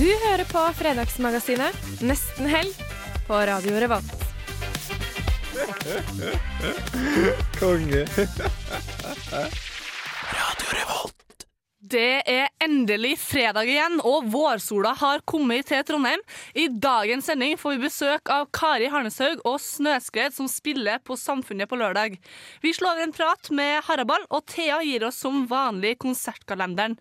Du hører på Fredagsmagasinet, nesten helg, på Radio Revolt. Konge. Det er endelig fredag igjen, og vårsola har kommet til Trondheim. I dagens sending får vi besøk av Kari Harneshaug og Snøskred, som spiller på Samfunnet på lørdag. Vi slår over en prat med Haraball, og Thea gir oss som vanlig konsertkalenderen.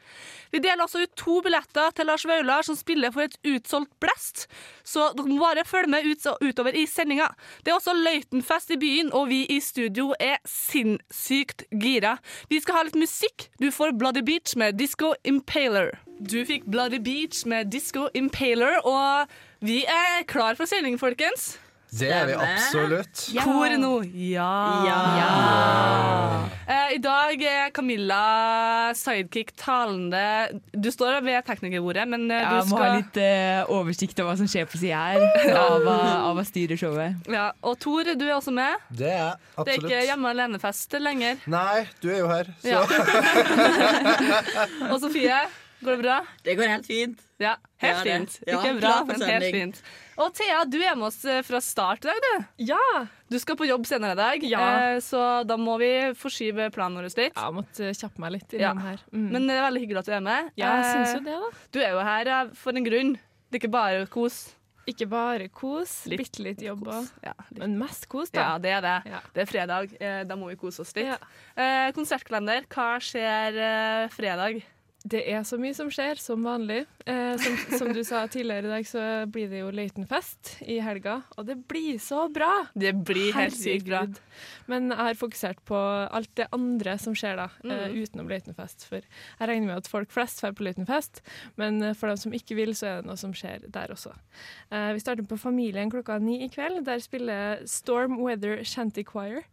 Vi deler også ut to billetter til Lars Vaular, som spiller for et utsolgt Blest, så dere må bare følge med ut, utover i sendinga. Det er også Løitenfest i byen, og vi i studio er sinnssykt gira. Vi skal ha litt musikk. Du får Bloody Beach med Disco Impaler. Du fikk Bloody Beach med Disco Impaler, og vi er klar for sending, folkens. Det er vi absolutt. Kor nå. Ja. Eh, I dag er Camilla sidekick talende. Du står ved teknikerbordet, men eh, Jeg du må ha skal litt eh, oversikt over hva som skjer på sida her. Ava, Ava styrer showet. ja. Og Tor, du er også med. Det er Det er ikke absolutt. hjemme alene-fest lenger. Nei, du er jo her, så Ja. og Sofie, går det bra? Det går helt fint. Ja, helt Ja, det. fint. Ja, Ikke bra, klar for men helt sending. fint. Og Thea, du er med oss eh, fra start i dag, du. Ja. Du skal på jobb senere i dag, Ja. eh, så da må vi forskyve planen vår litt. Jeg måtte kjappe meg litt innom her. Mm. Men det er veldig hyggelig at du er med. Eh, det, da. Du er jo her eh, for en grunn. Det er ikke bare kos. Ikke bare kos, bitte litt jobb Ja, Men mest kos, ja det er det. Ja. Det er fredag. eh, Da må vi kose oss litt. Ja. Eh, konsertkalender, hva skjer eh, fredag? Det er så mye som skjer, som vanlig. Eh, som, som du sa tidligere i dag, så blir det jo Løitenfest i helga, og det blir så bra! Det blir helt sykt bra. Herregud. Men jeg har fokusert på alt det andre som skjer da, eh, utenom Løitenfest. For jeg regner med at folk flest drar på Løitenfest, men eh, for dem som ikke vil, så er det noe som skjer der også. Eh, vi starter på Familien klokka ni i kveld. Der spiller Storm Weather Shanty Choir.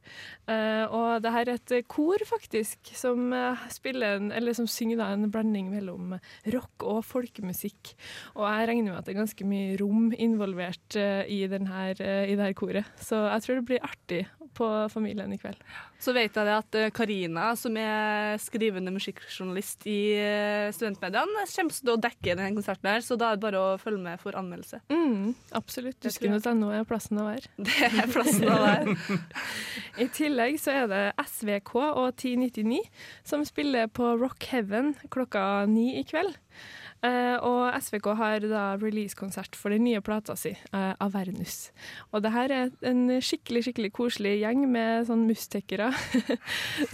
Eh, og det her er et eh, kor, faktisk, som, eh, spiller en, eller som synger da, en blanding mellom rock og folkemusikk. Og jeg regner med at det er ganske mye rom involvert eh, i, den her, eh, i det her koret. Så jeg tror det blir artig på Familien i kveld. Så vet jeg det at eh, Karina, som er skrivende musikkjournalist i eh, studentmediene, kommer til å dekke denne konserten, her, så da er det bare å følge med for anmeldelse. Mm, absolutt. Det tror jeg. Dusken.no er plassen å være. Det er plassen å være. I tillegg så er det SVK og 1099 som spiller på Rock Heaven klokka ni i kveld. Eh, og SVK har da releasekonsert for den nye plata si, eh, Avernus. Og det her er en skikkelig skikkelig koselig gjeng med sånn mustekkere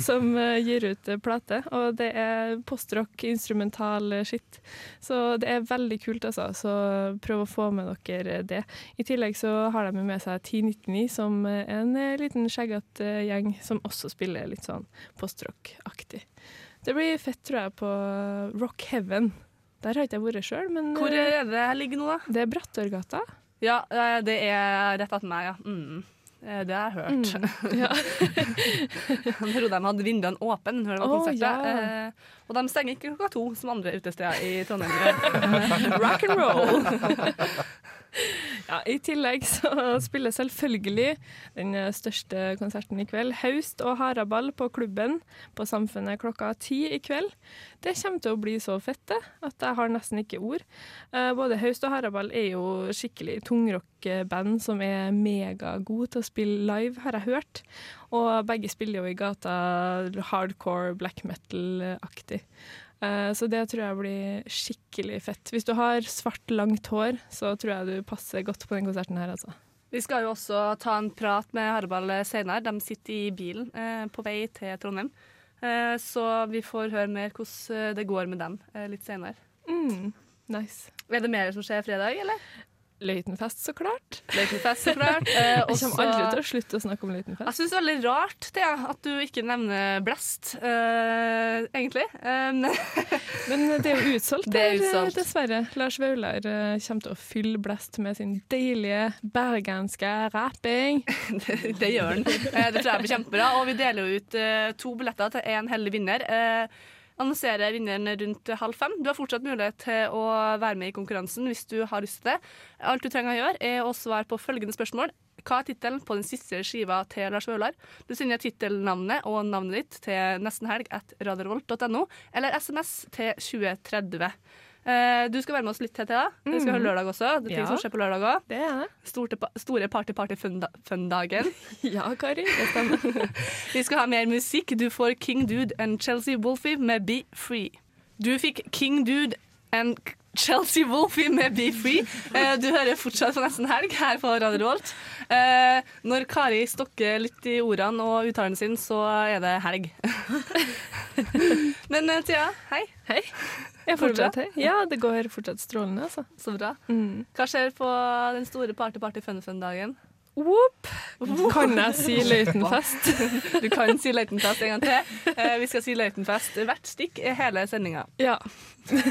som eh, gir ut eh, plate. Og det er postrock, instrumental eh, shit. Så det er veldig kult, altså. Så prøv å få med dere eh, det. I tillegg så har de med seg 1099, som er en eh, liten skjeggete eh, gjeng som også spiller litt sånn postrock-aktig. Det blir fett, tror jeg, på eh, Rock Heaven. Der har ikke jeg vært sjøl, men Hvor eh, er det jeg ligger nå, da? det er Brattørgata. Ja, eh, det er rett etter meg, ja. Mm. Eh, Det har jeg hørt. Mm. jeg trodde de hadde vinduene åpne når det var Å, konserter. ja. Eh, og de stenger ikke klokka to, som andre utesteder i Trondheim. gjør. Rock and roll! ja, I tillegg så spiller selvfølgelig den største konserten i kveld, Haust og Haraball på klubben på Samfunnet klokka ti i kveld. Det kommer til å bli så fett det, at jeg har nesten ikke ord. Eh, Både Haust og Haraball er jo skikkelig tungrockband som er megagode til å spille live, har jeg hørt. Og begge spiller jo i gata hardcore black metal-aktig. Eh, Så det tror jeg blir skikkelig fett. Hvis du har svart, langt hår, så tror jeg du passer godt på den konserten her, altså. Vi skal jo også ta en prat med Haraball senere. De sitter i bilen eh, på vei til Trondheim. Eh, så vi får høre mer hvordan det går med dem eh, litt senere. Mm, nice. Er det mer som skjer fredag, eller? Løitenfest, så klart. Løitenfest, så klart. Eh, Jeg også- kommer aldri til å slutte å snakke om Jeg Løitenfest. syns det er veldig rart det, at du ikke nevner Blast, eh, egentlig. Eh, Men det er jo utsolgt, Det er der, eh, utsolgt. dessverre. Lars Vaular eh, kommer til å fylle Blest med sin deilige bergenske rapping. det gjør den. Eh, det tror jeg blir kjempebra. Og vi deler jo ut eh, to billetter til én heldig vinner. Eh, annonserer vinneren rundt halv fem. Du har fortsatt mulighet til å være med i konkurransen hvis du har lyst til det. Alt du trenger å gjøre, er å svare på følgende spørsmål. Hva er tittelen på den siste skiva til Lars Vaular? Du sender tittelnavnet og navnet ditt til nestenhelg at radiorevolt.no, eller SMS til 2030. Eh, du skal være med oss litt til, Thea. Vi skal høre lørdag også. Det er ting Ja. som skjer på lørdag òg. Det er det. Storte pa- store party-party-fun-dagen. Ja, Kari, det stemmer. Vi skal ha mer musikk. Du får King Dude and Chelsea Wolfie med Be Free. Du fikk King Dude and K- Chelsea Wolfie med Be Free. Eh, Du hører fortsatt på Nesten Helg her på Radio Revolt. Eh, Når Kari stokker litt i ordene og uttalen sin, så er det helg. Men eh, Thea, hei. Hei. Jeg Går det bra? fortsatt her. Ja, det går fortsatt strålende, altså. Så bra. Hva skjer på den store party-party-fun-fun-dagen? Whoop! Kan jeg si Løitenfest? Du kan si Løitenfest en gang til. Eh, Vi skal si Løitenfest hvert stikk i hele sendinga. Ja.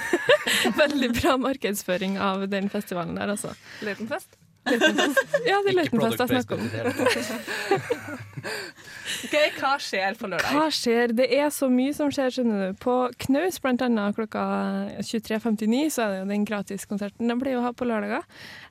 Veldig bra markedsføring av den festivalen der, altså. Løitenfest. Ja, det er Løitenfest jeg snakker om. snakker om. Ok, Hva skjer på lørdag? Hva skjer? Det er så mye som skjer, skjønner du. På Knaus, blant annet klokka 23.59, så er det jo den gratiskonserten de pleier å ha på lørdager.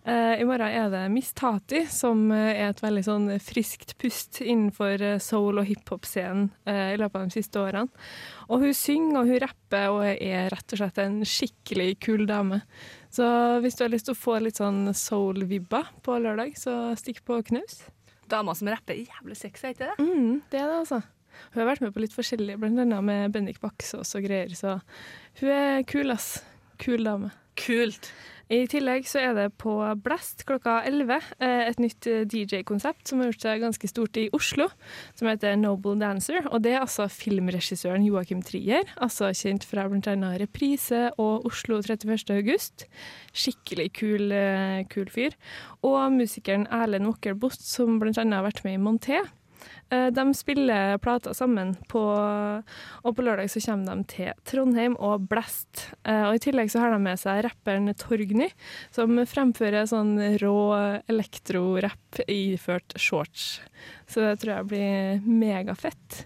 Eh, I morgen er det Miss Tati, som eh, er et veldig sånn friskt pust innenfor eh, soul- og hiphop-scenen eh, i løpet av de siste årene. Og hun synger og hun rapper og er rett og slett en skikkelig kul dame. Så hvis du har lyst til å få litt sånn soul-vibber på lørdag, så stikk på Knaus. Dama som rapper er jævlig sexy, er ikke det? Mm, det er det, altså. Hun har vært med på litt forskjellig, blant annet med Bendik Baksås og greier, så hun er kul, ass. Kul dame. Kult. I tillegg så er det på Blast klokka 11 eh, et nytt DJ-konsept som har gjort seg ganske stort i Oslo, som heter Noble Dancer. Og det er altså filmregissøren Joakim Trier, altså kjent fra bl.a. Reprise og Oslo 31. august. Skikkelig kul, eh, kul fyr. Og musikeren Erlend Wokkelbost, som bl.a. har vært med i Monté. Eh, De spiller plater sammen, på, og på lørdag så kommer de til Trondheim og Blast. Eh, Og I tillegg så har de med seg rapperen Torgny, som fremfører sånn rå elektrorapp iført shorts. Så det tror jeg blir megafett,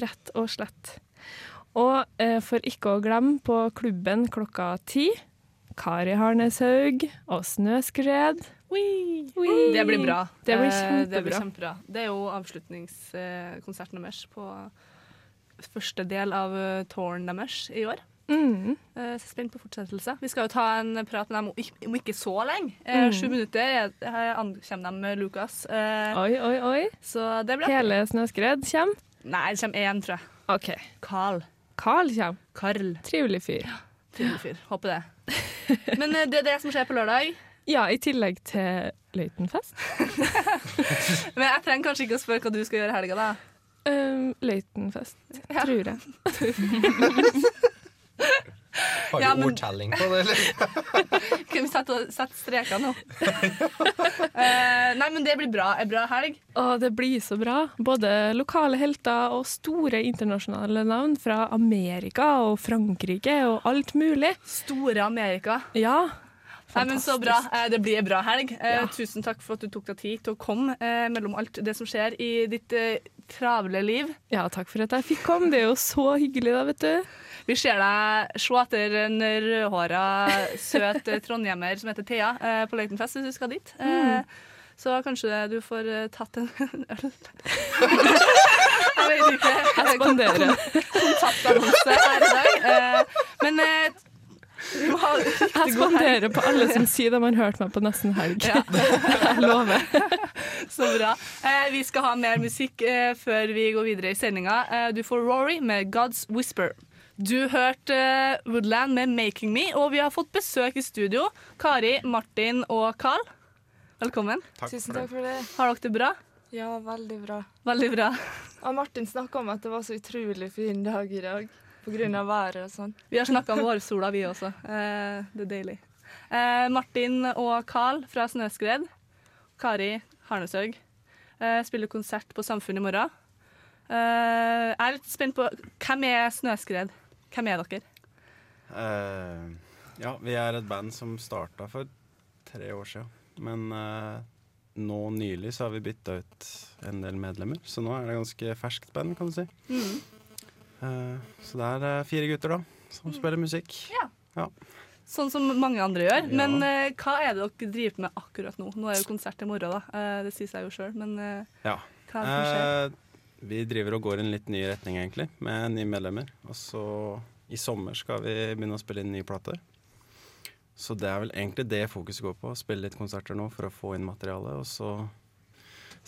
rett og slett. Og eh, for ikke å glemme, på klubben klokka ti, Kari Harneshaug og Snøskred. Wee. Det blir bra. Det blir Eh, Det, blir kjempebra. kjempebra. det er jo avslutningskonserten deres på første del av eh, touren deres i år. Mm. Eh, Så spent på fortsettelse. Vi skal jo ta en prat med dem om ik- om ikke så lenge. Eh, Mm. Sju minutter er- her ankommer de med Lukas. Eh, Oi, oi, oi. Så det blir Hele Snøskred kommer. Nei, det kommer én, tror jeg. OK. Carl. Carl kommer. Carl. Trivelig fyr. Trivelig fyr. Håper det. Men eh, det er det som skjer på lørdag. Ja, i tillegg til Løitenfest. Men jeg trenger kanskje ikke å spørre hva du skal gjøre i helga, da. Um, Løitenfest, tror jeg. Har Ja, du men- ordtelling på det, eller? Kan vi sette, sette streker nå? Eh, nei, men det blir bra. En bra helg. Og det blir så bra. Både lokale helter og store internasjonale navn fra Amerika og Frankrike og alt mulig. Store Amerika. Ja. Nei, men Så bra. Eh, det blir en bra helg. Eh, Ja. Tusen takk for at du tok deg tid til å komme eh, mellom alt det som skjer i ditt eh, travle liv. Ja, takk for at jeg fikk komme. Det er jo så hyggelig, da, vet du. Vi ser deg se etter en rødhåra, søt eh, trondhjemmer som heter Thea eh, på Løitenfest hvis du skal dit. Mm. Eh, Så kanskje du får eh, tatt en øl. Jeg vet ikke. Jeg Spanderer. kontaktannonse her i dag. Eh, Men eh, vi må ha Jeg riktig god helg. spanderer på alle som sier de har hørt meg på nesten helg. Ja. Jeg lover. Så bra. Eh, vi skal ha mer musikk eh, før vi går videre i sendinga. Eh, du får Rory med 'God's Whisper'. Du hørte eh, Woodland med 'Making Me', og vi har fått besøk i studio. Kari, Martin og Carl. Velkommen. Tusen takk for det. Har dere det bra? Ja, veldig bra. Veldig bra. Og Martin snakka om at det var så utrolig fin dag i dag pga. været og sånn. Vi har snakka om vårsola, vi også. Eh, det er deilig. Eh, Martin og Carl fra Snøskred. Kari Harneshaug. Eh, spiller konsert på Samfunnet i morgen. Eh, jeg er litt spent på Hvem er Snøskred? Hvem er dere? Eh, ja, vi er et band som starta for tre år siden. Men eh, nå nylig så har vi bytta ut en del medlemmer, så nå er det ganske ferskt band, kan du si. Eh, så det er eh, fire gutter, da, som spiller musikk. Ja. Ja. Sånn som mange andre gjør. Ja. Men eh, hva er det dere driver med akkurat nå? Nå er jo konsert i morgen, da. Eh, det sier seg jo sjøl. Men eh, Ja. hva er det som skjer? Eh, vi driver og går i en litt ny retning, egentlig, med nye medlemmer. Og så i sommer skal vi begynne å spille inn nye plater. Så det er vel egentlig det fokuset går på. å Spille litt konserter nå for å få inn materiale, og så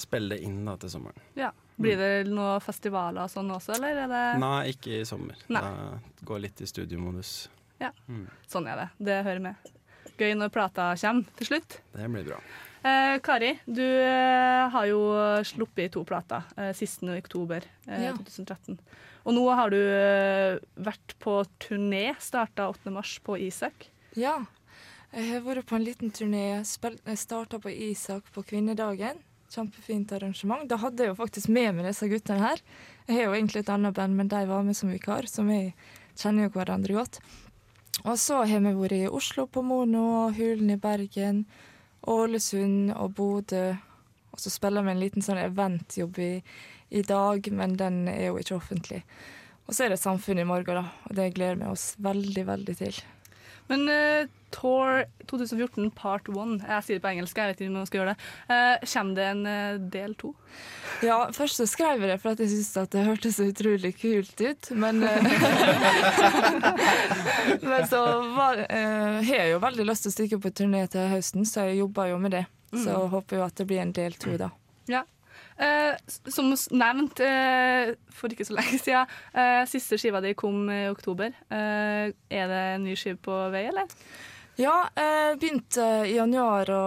spille det inn da til sommeren. ja. Blir det noen festivaler og sånn også, eller er det Nei, ikke i sommer. Nei. Det går litt i studiomodus. Mm. Sånn er det. Det hører med. Gøy når plata kommer til slutt. Det blir bra. Eh, Kari, du eh, har jo sluppet to plater eh, sisten i oktober eh, Ja. 2013. Og nå har du eh, vært på turné, starta 8. mars på Isak. Ja. Jeg har vært på en liten turné. Starta på Isak på kvinnedagen. Kjempefint arrangement. Da hadde jeg jo faktisk med meg disse guttene her. Jeg har jo egentlig et annet band, men de var med som vikar, så vi kjenner jo hverandre godt. Og så har vi vært i Oslo på Mono, og Hulen i Bergen, Ålesund og Bodø. Og så spiller vi en liten sånn eventjobb i, i dag, men den er jo ikke offentlig. Og så er det Samfunnet i morgen, da. Og det gleder vi oss veldig, veldig til. Men eh, Tour 2014 part 1, jeg sier det på engelsk, jeg vet ikke om jeg skal gjøre det, Eh, kommer det en eh, del 2? Ja, først så skrev jeg det for at jeg syntes at det hørtes så utrolig kult ut, men eh, Men så var, eh, har jeg jo veldig lyst til å stikke på turné til høsten, så jeg jobber jo med det. Så håper jo at det blir en del to, da. Ja. Eh, s- som s- nevnt eh, for ikke så lenge siden, eh, siste skiva di kom i oktober. Eh, er det en ny skive på vei, eller? Ja, jeg begynte i januar å,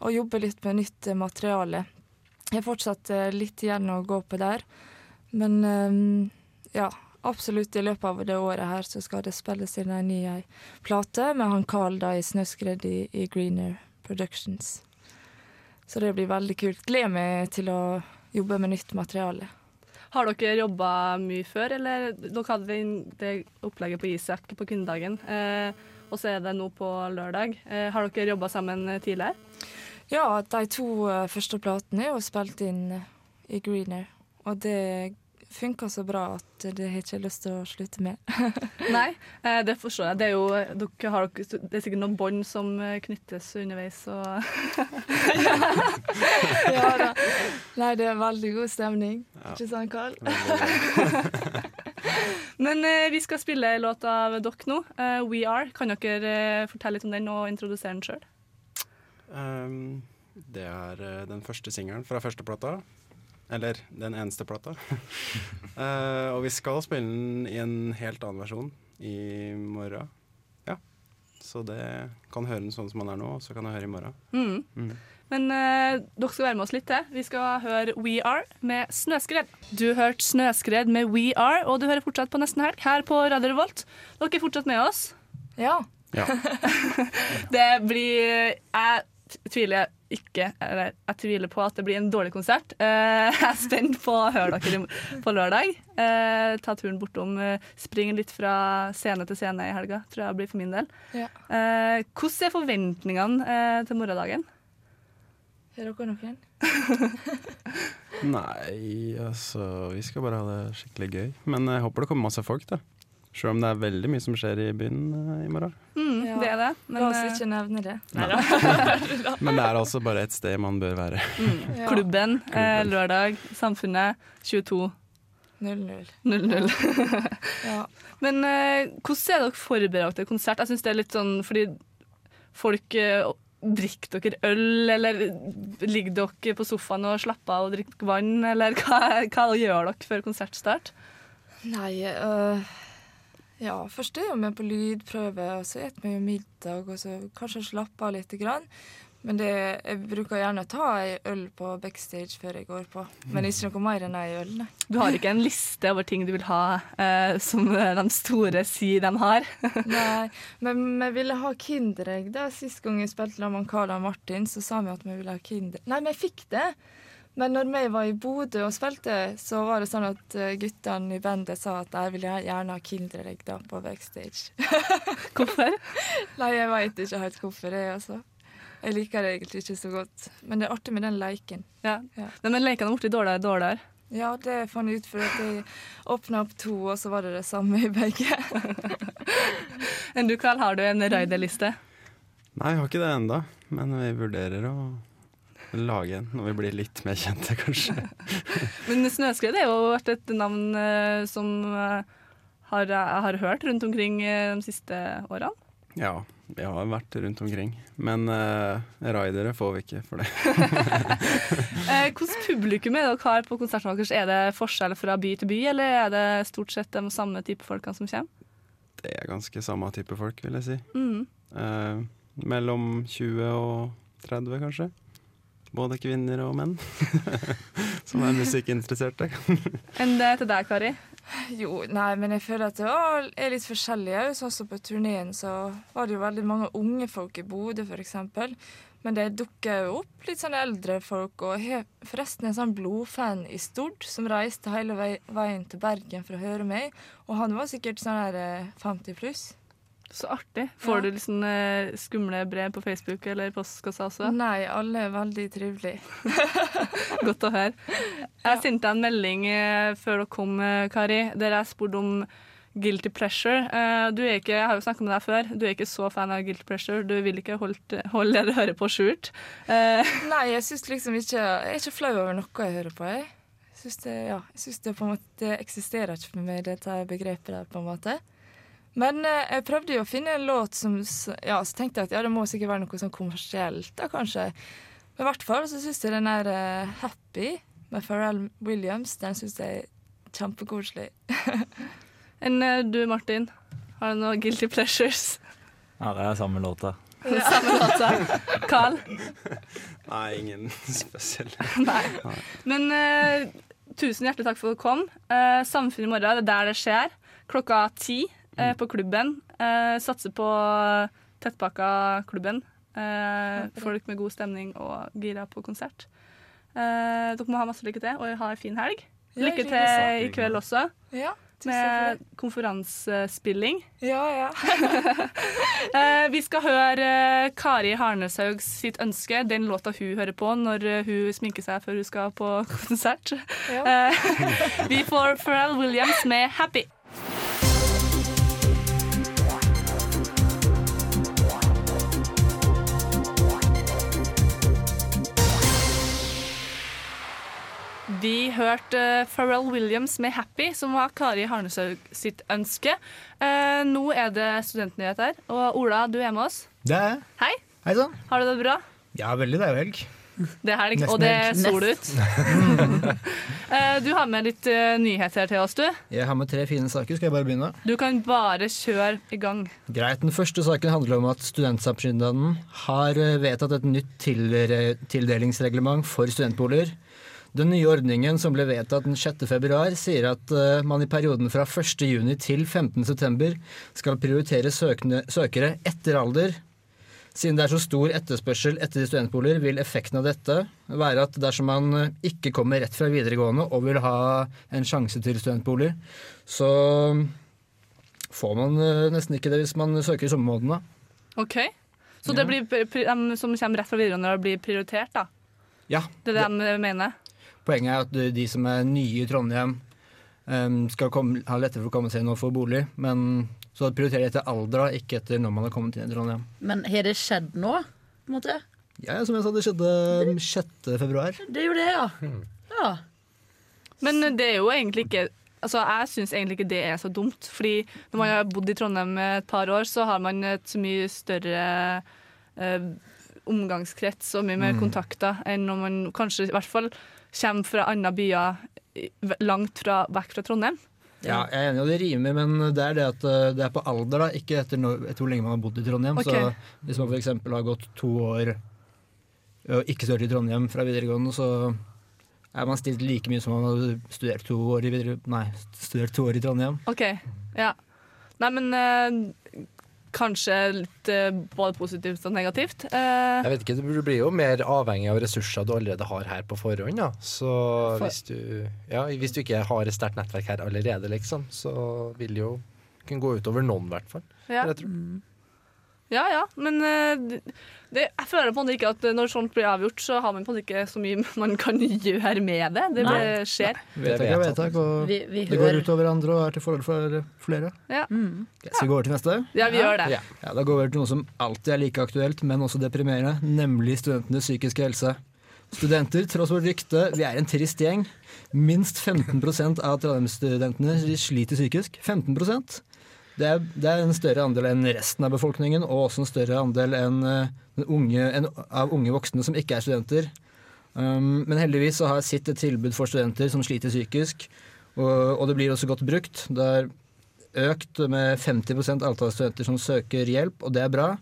å jobbe litt med nytt eh, materiale. Jeg har fortsatt eh, litt igjen å gå på der, men eh, ja. Absolutt i løpet av det året her så skal det spilles inn en ny eh, plate med han Carl da i Snøskred i, i Greener Productions. Så det blir veldig kult. Gleder meg til å jobbe med nytt materiale. Har dere jobba mye før, eller? Dere hadde den- det opplegget på Isak på kvinnedagen, eh, og så er det nå på lørdag. Eh, har dere jobba sammen eh, tidligere? Ja, de to eh, første platene er jo spilt inn eh, i Greener, og det funka så bra at det har jeg ikke lyst til å slutte med. Nei, eh, det forstår jeg. Det er jo dere har, dere- det er sikkert noen bånd som eh, knyttes underveis. Og ja da. Nei, det er veldig god stemning. Ikke sant, Karl? Men eh, vi skal spille en låt av dere nå, eh, We Are. Kan dere eh, fortelle litt om den og introdusere den sjøl? Um, det er eh, den første singelen fra første plata. Eller den eneste plata. Eh, og vi skal spille den i en helt annen versjon i morgen. Ja. Så det kan høre den sånn som den er nå, og så kan jeg høre i morgen. Mm. Men eh, dere skal være med oss litt til. Vi skal høre We Are med Snøskred. Du hørte Snøskred med We Are, og du hører fortsatt på Nesten Helg her på Radio Revolt. Dere er fortsatt med oss. Ja. Det blir Jeg t- tviler ikke Eller jeg tviler på at det blir en dårlig konsert. Eh, jeg er spent på å høre dere i- på lørdag. Eh, ta turen bortom. eh, Spring litt fra scene til scene i helga, tror jeg blir for min del. ja. Eh, hvordan er forventningene eh, til morgendagen? Har dere noen? Nei, altså Vi skal bare ha det skikkelig gøy. Men jeg håper det kommer masse folk, da. Sjøl om det er veldig mye som skjer i byen eh, i morgen. Mm, Ja. Det er det. Men La oss eh, ikke nevne det. Men det er altså bare et sted man bør være. Mm. Ja. klubben, eh, Klubben. lørdag, Samfunnet 22.00. 0-0. Ja. Men eh, hvordan er dere forberedt til konsert? Jeg synes det er litt sånn fordi folk eh, drikker dere øl, eller ligger dere på sofaen og slapper av og drikker vann, eller hva, hva gjør dere før konsertstart? Nei, øh, ja, først er jo vi på lydprøve, og så spiser vi jo middag, og så kanskje slappe av litt. Grann. Men det, jeg bruker gjerne å ta ei øl på backstage før jeg går på. Men ikke noe mer enn ei øl, nei. Du har ikke en liste over ting du vil ha eh, som eh, de store sier de har. Nei, men vi ville ha Kinderegg. da. Sist gang jeg spilte sammen med Carl og Martin, så sa vi at vi ville ha Kinder... Nei, men jeg fikk det! Men når vi var i Bodø og spilte, så var det sånn at eh, guttene i bandet sa at jeg ville gjerne ha Kinderegg da, på backstage. hvorfor? Nei, jeg veit ikke helt hvorfor, jeg, altså. Jeg liker det egentlig ikke så godt. Men det er artig med den leiken. Ja. Den leken har blitt dårligere og dårligere. Ja, det fant jeg ut fordi at jeg åpna opp to, og så var det det samme i begge. Enn du, Carl, har du en raiderliste? Nei, jeg har ikke det enda, men vi vurderer å lage en når vi blir litt mer kjente, kanskje. Men Snøskred har jo vært et navn eh, som eh, har, jeg har hørt rundt omkring eh, de siste årene. Ja, vi har vært rundt omkring. Men eh, raidere får vi ikke for det. Eh, hvordan publikum er dere har på konserten deres? Er det forskjell fra by til by, eller er det stort sett de samme type folkene som kommer? Det er ganske samme type folk, vil jeg si. Mm. Eh, mellom 20 og 30, kanskje. Både kvinner og menn som er musikkinteresserte. Enn det til deg, Kari? Jo, nei, men jeg føler at det var- er litt forskjellig. Jeg er jo Sånn som på turneen så var det jo veldig mange unge folk i Bodø, f.eks. Men det dukker jo opp litt sånn eldre folk, og jeg har forresten en sånn blodfan i Stord som reiste hele vei, veien til Bergen for å høre meg, og han var sikkert sånn her eh, 50 pluss. Så artig. Får Ja. du litt sånn, eh, skumle brev på Facebook eller postkassa også? Nei, alle er veldig trivelige. Godt å høre. Jeg sendte deg en melding eh, før dere kom, eh, Kari, der jeg spurte om guilty pleasure. Eh, du er ikke, jeg har jo snakket med deg før, du er ikke så fan av guilty pleasure. Du vil ikke holdt, holde det du hører på, skjult. Eh, Nei, jeg syns liksom ikke Jeg er ikke flau over noe jeg hører på, jeg. Jeg Synes det, ja, jeg synes det på en måte Det eksisterer ikke for meg, dette begrepet der, på en måte. Men eh, jeg prøvde jo å finne en låt som s- Ja, så tenkte jeg at ja, det må sikkert være noe sånn kommersielt, da kanskje. Men i hvert fall så syns jeg den der eh, 'Happy' med Pharrell Williams, den syns jeg er kjempekoselig. Enn eh, du, Martin, har du noen guilty pleasures? Ja, det er samme låta. Samme låta. Carl? Nei, ingen spesielle. Nei. Men eh, tusen hjertelig takk for at du kom. Eh, Samfunnet i morgen, det er der det skjer. Klokka ti eh, på klubben. Eh, satser på tettpakka klubben. Eh, folk med god stemning og gira på konsert. Eh, dere må ha masse lykke til og ha en fin helg. Ja, Lykke like til i så. kveld også. Ja, tusen Med konferansespilling. Ja, ja. Eh, vi skal høre eh, Kari Harneshaug sitt ønske, den låta hun hører på når eh, hun sminker seg før hun skal på konsert. Eh, vi får Pharrell Williams med 'Happy'. Vi hørte eh, Pharrell Williams med 'Happy', som var Kari Harneshaug sitt ønske. Eh, nå er det studentnyheter, og Ola, du er med oss. Det er jeg. Hei, Hei sann. har du det bra? Ja, veldig. Det er jo helg. Det er helg, Nesten og det helg. er sol ut. Eh, du har med litt eh, nyheter til oss, du. Jeg har med tre fine saker. Skal jeg bare begynne? Du kan bare kjøre i gang. Greit. Den første saken handler om at Studentsamskipnaden har eh, vedtatt et nytt tilre- tildelingsreglement for studentboliger. Den nye ordningen som ble vedtatt den 6. februar, sier at eh, man i perioden fra 1. juni til 15. september skal prioritere søkne, søkere etter alder. Siden det er så stor etterspørsel etter studentboliger, vil effekten av dette være at dersom man eh, ikke kommer rett fra videregående og vil ha en sjanse til studentbolig, så får man eh, nesten ikke det hvis man søker i sommermånedene. OK? Så det blir, pri- pri- de som kommer rett fra videregående, blir prioritert, da? Ja, Det er det de mener? Poenget er at de- de som er nye i Trondheim em, skal komme, ha lettere for å komme seg inn og få bolig, men så prioriterer de etter alder, da, ikke etter når man har kommet inn i Trondheim. Men har det skjedd nå? På en måte? Ja, som jeg sa, det skjedde em, 6. februar. Hmm. Det gjorde det, ja. ja. Men eh, det er jo egentlig ikke Altså, Jeg syns egentlig ikke det er så dumt. Fordi når man har bodd i Trondheim et par år, så har man et så mye større eh, omgangskrets og mye mer Mm. kontakter enn når man kanskje i hvert fall kommer fra andre byer i- langt fra, vekk fra Trondheim. Ja, jeg er enig i at det rimer, men det er det at eh, det er på alder, da, ikke etter, når, etter hvor lenge man har bodd i Trondheim. Ok. Så hvis man f.eks. har gått to år og ikke studerte i Trondheim fra videregående, så er man stilt like mye som man hadde studert to år i, videre, nei, studert to år i Trondheim. OK. Ja. Nei, men eh, kanskje litt eh, både positivt og negativt. Eh, Jeg vet ikke, Du blir jo mer avhengig av ressurser du allerede har her på forhånd. Da. Så For- hvis du, ja, hvis du ikke har et sterkt nettverk her allerede, liksom, så vil det jo kunne gå utover noen, i hvert fall. Ja. Mm. vil jeg tro. ja, ja, men eh, det, jeg føler på en måte ikke at når sånt blir avgjort, så har man på en måte ikke så mye man kan gjøre med det. Det bare Nei. skjer. Vedtak er vedtak, og Vi- vi det hører. går ut over andre og er til fordel for flere. Ja. Ok, Skal vi gå over til neste? Ja, vi gjør det. Ja. Ja, da går vi over til noe som alltid er like aktuelt, men også deprimerende, nemlig studentenes psykiske helse. Studenter, tross vårt rykte, vi er en trist gjeng. Minst 15 av Trondheim-studentene sliter psykisk. 15 det er, det er en større andel enn resten av befolkningen, og også en større andel enn, eh, den unge, enn av unge voksne som ikke er studenter. Um, men heldigvis så har sitt et tilbud for studenter som sliter psykisk, og, og det blir også godt brukt. Det er økt med 50 antall studenter som søker hjelp, og det er bra.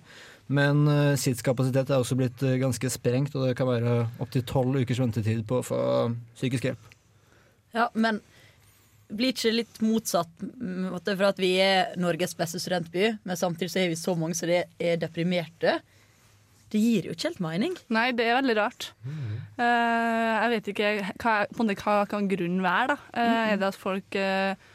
Men uh, SITs kapasitet er også blitt eh, ganske sprengt, og det kan være opptil tolv ukers ventetid på å få psykisk hjelp. Ja, men blir ikke det litt motsatt mm, at det er for at vi er Norges beste studentby, men samtidig så har vi så mange som er- er deprimerte? Det gir jo ikke helt mening. Nei, det er veldig rart. Eh, jeg vet ikke hva, på en måte, hva kan grunnen være, da. Mm. Eh, er det at folk eh,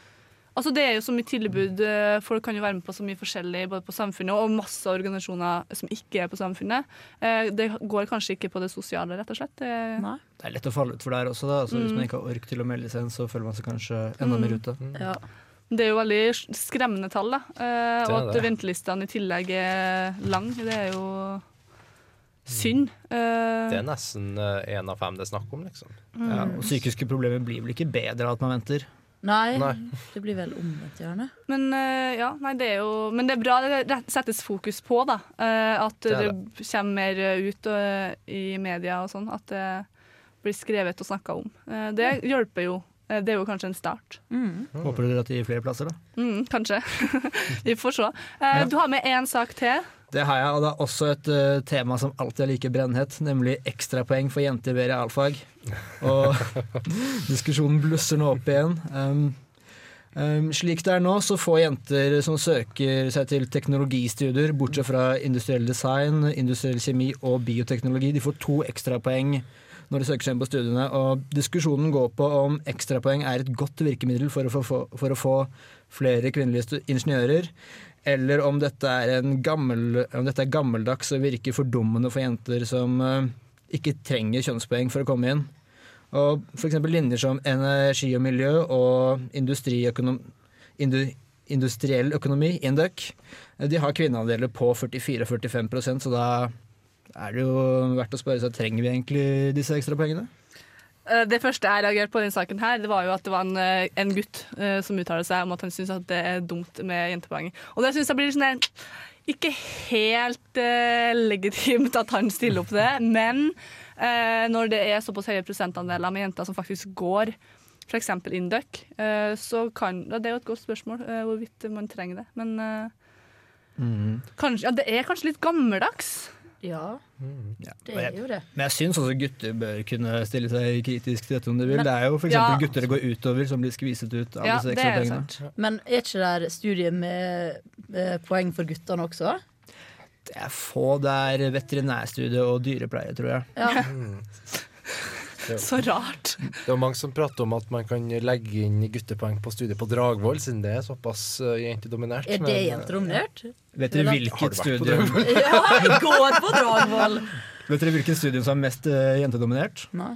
Altså, det er jo så mye tilbud. eh, folk kan jo være med på så mye forskjellig både på samfunnet og masse organisasjoner som ikke er på samfunnet. Eh, det går kanskje ikke på det sosiale, rett og slett. Det- Det er lett å falle ut for der også, da. Altså, Hvis Mm. man ikke har ork til å melde seg inn, så føler man seg kanskje enda mer Mm. ute. Ja. Det er jo veldig skremmende tall, da. Eh, Det er og at det. ventelistene i tillegg er lang, det er jo synd. Eh, Det er nesten én av fem det er snakk om, liksom. Mm. Ja, og psykiske problemer blir vel ikke bedre av at man venter? Nei, Nei. det blir vel omvendt, gjerne. Men eh, ja, nei, det er jo Men det er bra det rett- settes fokus på, da. Eh, at Det det, er kommer mer eh, ut eh, i media og sånn. At det blir skrevet og snakka om. Eh, det hjelper jo. Eh, det er jo kanskje en start. Håper dere at det gir flere plasser, da? Mm, kanskje. Vi får se. Eh, Ja. Du har med én sak til. Det har jeg, og det er også et eh, tema som alltid er like brennhett, nemlig ekstrapoeng for jenter ved realfag. Og diskusjonen blusser nå opp igjen. Um, um, slik det er nå, så får jenter som søker seg til teknologistudier, bortsett fra industriell design, industriell kjemi og bioteknologi, de får to ekstrapoeng når de søker seg inn på studiene. Og diskusjonen går på om ekstrapoeng er et godt virkemiddel for å få, for å få flere kvinnelige stu- ingeniører, eller om dette er, en gammel, om dette er gammeldags og virker fordummende for jenter som eh, ikke trenger kjønnspoeng for å komme inn. Og f.eks. linjer som energi og miljø og industriøkonom... Indu, industriell økonomi, Induc, eh, de har kvinneandeler på 44-45 så da er det jo verdt å spørre seg trenger vi egentlig disse ekstra pengene. Eh, Det første jeg reagerte på i denne saken, her, det var jo at det var en, eh, en gutt eh, som uttaler seg om at han syns at det er dumt med jentepoeng. Og det syns jeg blir sånn der, ikke helt eh, legitimt at han stiller opp det, men eh, når det er såpass høye prosentandeler med jenter som faktisk går f.eks. Induc, eh, så kan ja, Det er jo et godt spørsmål eh, hvorvidt man trenger det, men eh, kanskje, ja, det er kanskje litt gammeldags. Ja, det og er jeg- jo det. Men jeg syns også gutter bør kunne stille seg kritisk til dette om de vil. Men- det er jo f.eks. Ja. eksempel gutter det går utover som blir skviset ut av disse ekstra pengene. Men er ikke det der studiet med eh, poeng for guttene også? Det er få. Det er veterinærstudie og dyrepleie, tror jeg. Ja. Mm. Så rart. Det er jo mange som prater om at man kan legge inn guttepoeng på studiet på Dragvoll, siden det er såpass eh, jentedominert. eh, Er det jentedominert? Vet dere Har du hvilket vært på studium Dragvoll? Ja, jeg går på Dragvoll! Vet dere hvilket studium som er mest eh, jentedominert? Nei.